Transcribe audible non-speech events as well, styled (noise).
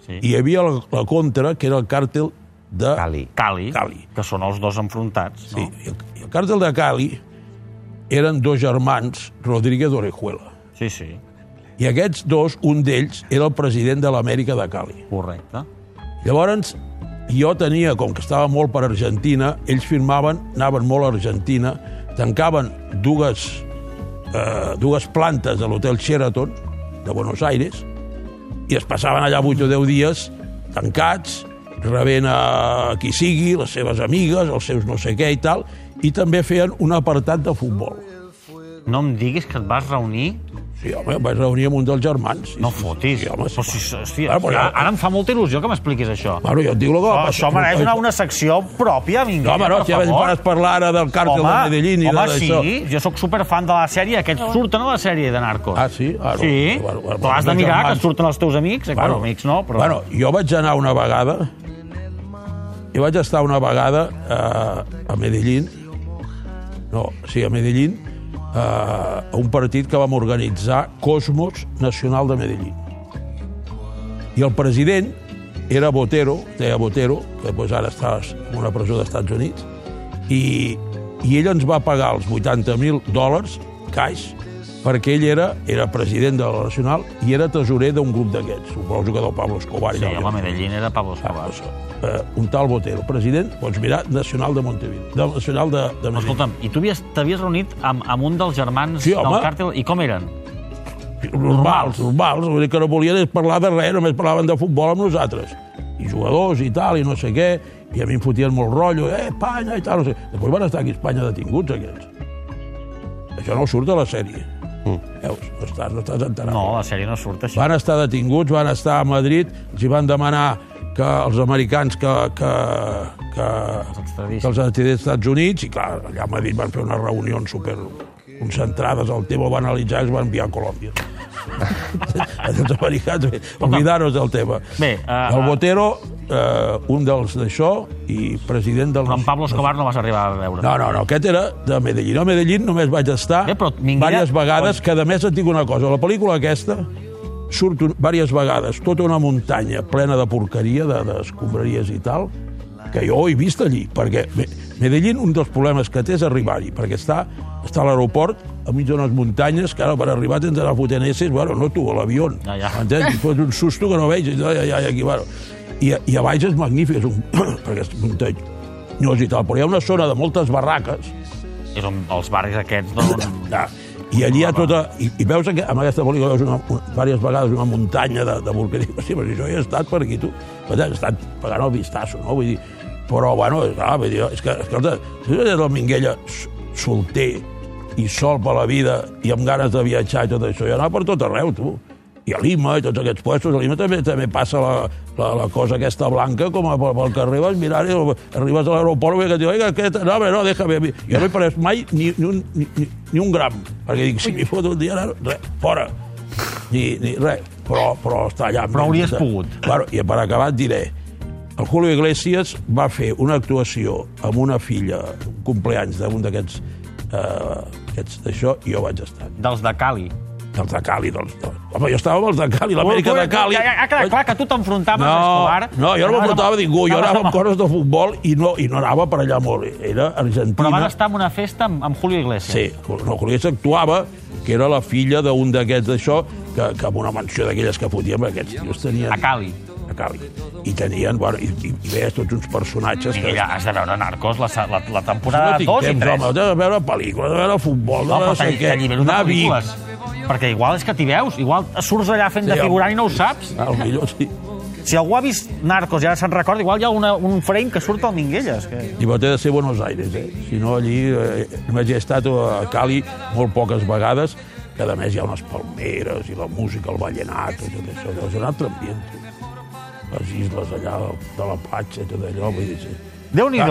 Sí. i hi havia la, la contra, que era el càrtel de Cali. Cali, Cali. que són els dos enfrontats. Sí, No? i el, i el càrtel de Cali eren dos germans, Rodríguez Orejuela. Sí, sí, I aquests dos, un d'ells, era el president de l'Amèrica de Cali. correcte. Llavors, jo tenia, com que estava molt per Argentina, ells firmaven, anaven molt a Argentina, tancaven dues, eh, dues plantes de l'hotel Sheraton de Buenos Aires i es passaven allà 8 o 10 dies tancats, rebent a qui sigui, les seves amigues, els seus no sé què i tal, i també feien un apartat de futbol. No em diguis que et vas reunir... Sí, home, em vaig reunir amb un dels germans. No fotis. Sí, home, sí. Ah, Però si, hòstia, Ara, però ara, ja- ara em fa molta il·lusió que m'expliquis això. Bueno, jo et dic el que... Oh, va això passar. mereix una, una secció pròpia, No, vinga, home, no, per ja vaig favor. parar a parlar ara del càrtel de Medellín i home, de d'això. sí, jo sóc superfan de la sèrie, aquests surten a la sèrie de Narcos. Ah, sí? Ah, no. sí, Bueno, bueno, però has de bueno, mirar que germans. surten els teus amics, eh? bueno, amics no, però... Bueno, jo vaig anar una vegada, i vaig estar una vegada eh, a Medellín, no, sí, a Medellín, eh, a un partit que vam organitzar Cosmos Nacional de Medellín. I el president era Botero, deia Botero, que doncs, ara està en una presó dels Estats Units, i, i ell ens va pagar els 80.000 dòlars, caix, perquè ell era, era president de la Nacional i era tesorer d'un grup d'aquests, suposo que del Pablo Escobar. i sí, del- home, Medellín era Pablo Escobar. Doncs, eh, un tal Botero, president, doncs mira, Nacional de Montevideo, de, Nacional de, de Medellín. Escolta'm, i tu havies- t'havies reunit amb, amb un dels germans Sí, del home. càrtel, i com eren? normals, normals, vull dir que no volien és parlar de res, només parlaven de futbol amb nosaltres. I jugadors i tal, i no sé què, i a mi em fotien molt rotllo, eh, Espanya i tal, no sé. Després van estar aquí a Espanya detinguts, aquests. Això no surt a la sèrie. Mm. Veus, no estàs, no estàs enterat. No, la sèrie no surt així. Van estar detinguts, van estar a Madrid, els hi van demanar que els americans que, que, que, extradissin. que els extradissin als Estats Units, i clar, allà a Madrid van fer unes reunions super concentrades, el tema ho va analitzar i es va enviar a (laughs) Colòmbia. els americans, bé, oblidar-nos del tema. Bé, eh, el Botero, eh, un dels d'això, i president del... Però amb Pablo Escobar no vas arribar a veure. No, no, no, aquest era de Medellín. A Medellín només vaig estar Bé, però Minguella- diverses vegades, que a més et dic una cosa, la pel·lícula aquesta surt un, diverses vegades, tota una muntanya plena de porqueria, de- d'escombraries i tal, que jo he vist allí, perquè Me- Medellín un dels problemes que té és arribar-hi, perquè està, està a l'aeroport, enmig d'unes muntanyes, que ara per arribar tens d'anar fotent esses, bueno, no tu, a l'avió. Ja, ja. Entens? I fos un susto que no veig. I, ai, ai, ai, aquí, bueno. I, a- I a baix és magnífic, és un... (clears throat) perquè és muntanyós i tal, però hi ha una zona de moltes barraques, És on els barris aquests doncs, d'on... ja, i allí hi ha tota... I, i veus que amb aquesta pel·lícula veus una, un, diverses vegades una muntanya de, de volcà. Dius, (laughs) sí, però si jo hi he estat per aquí, tu. Per tant, he estat pagant el vistazo, no? Vull dir, però, bueno, és clar, vull dir, és que, escolta, si tu eres el Minguella s- solter i sol per la vida i amb ganes de viatjar i tot això, jo anava per tot arreu, tu. I a Lima, i tots aquests puestos, a Lima també també passa la, la, la cosa aquesta blanca, com a, pel, pel carrer vas mirant i arribes a l'aeroport i que et diu, "Oiga, aquest, no, home, no, déjame. a mi". Jo no he pres mai ni, ni, un, ni, ni- ni un gram, perquè dic, si m'hi foto un dia, no, res, fora. Ni, ni res, però, però està allà. Però hauries pogut. Bueno, I per acabar et diré, el Julio Iglesias va fer una actuació amb una filla, un compleanys d'un d'aquests eh, aquests d'això, i jo vaig estar dels de Cali. dels de Cali, doncs. doncs. Home, jo estava amb els de Cali, l'Amèrica de Cali. Oh, Ja, ja, ha quedat clar que tu t'enfrontaves a Escobar. No, no, jo no m'apuntava ningú, jo anava amb amb... coses de futbol i no, i no anava per allà molt. Era Argentina. Però vas estar en una festa amb, amb Julio Iglesias. Sí, no, Cruïlla actuava, que era la filla d'un d'aquests d'això, que, que amb una mansió d'aquelles que fotíem, aquests tios tenien... A Cali. A Cali. I tenien, bueno, i, i, i veies tots uns personatges que... Miguel, has de veure Narcos, la, la, la no temporada tinc 2 i temps, 3. home, de veure pel·lícules, de veure futbol, de No, veure però no sé t'all- què, t'allibero de anar a Vic. pel·lícules. Perquè igual és que t'hi veus, igual surts allà fent Sí, de home. figurant i no ho saps. Ah, el millor, sí. Si algú ha vist Narcos i ara se'n recorda, igual hi ha una, un frame que surt al Minguelles. Que... I va haver de ser Buenos Aires, eh? Si no, allí eh, només he estat a Cali molt poques vegades, que a més hi ha unes palmeres i la música, el ballenat, tot això, allò és un altre ambient. tu. Les isles allà de la platja, tot allò, vull dir... Sí. Déu-n'hi-do.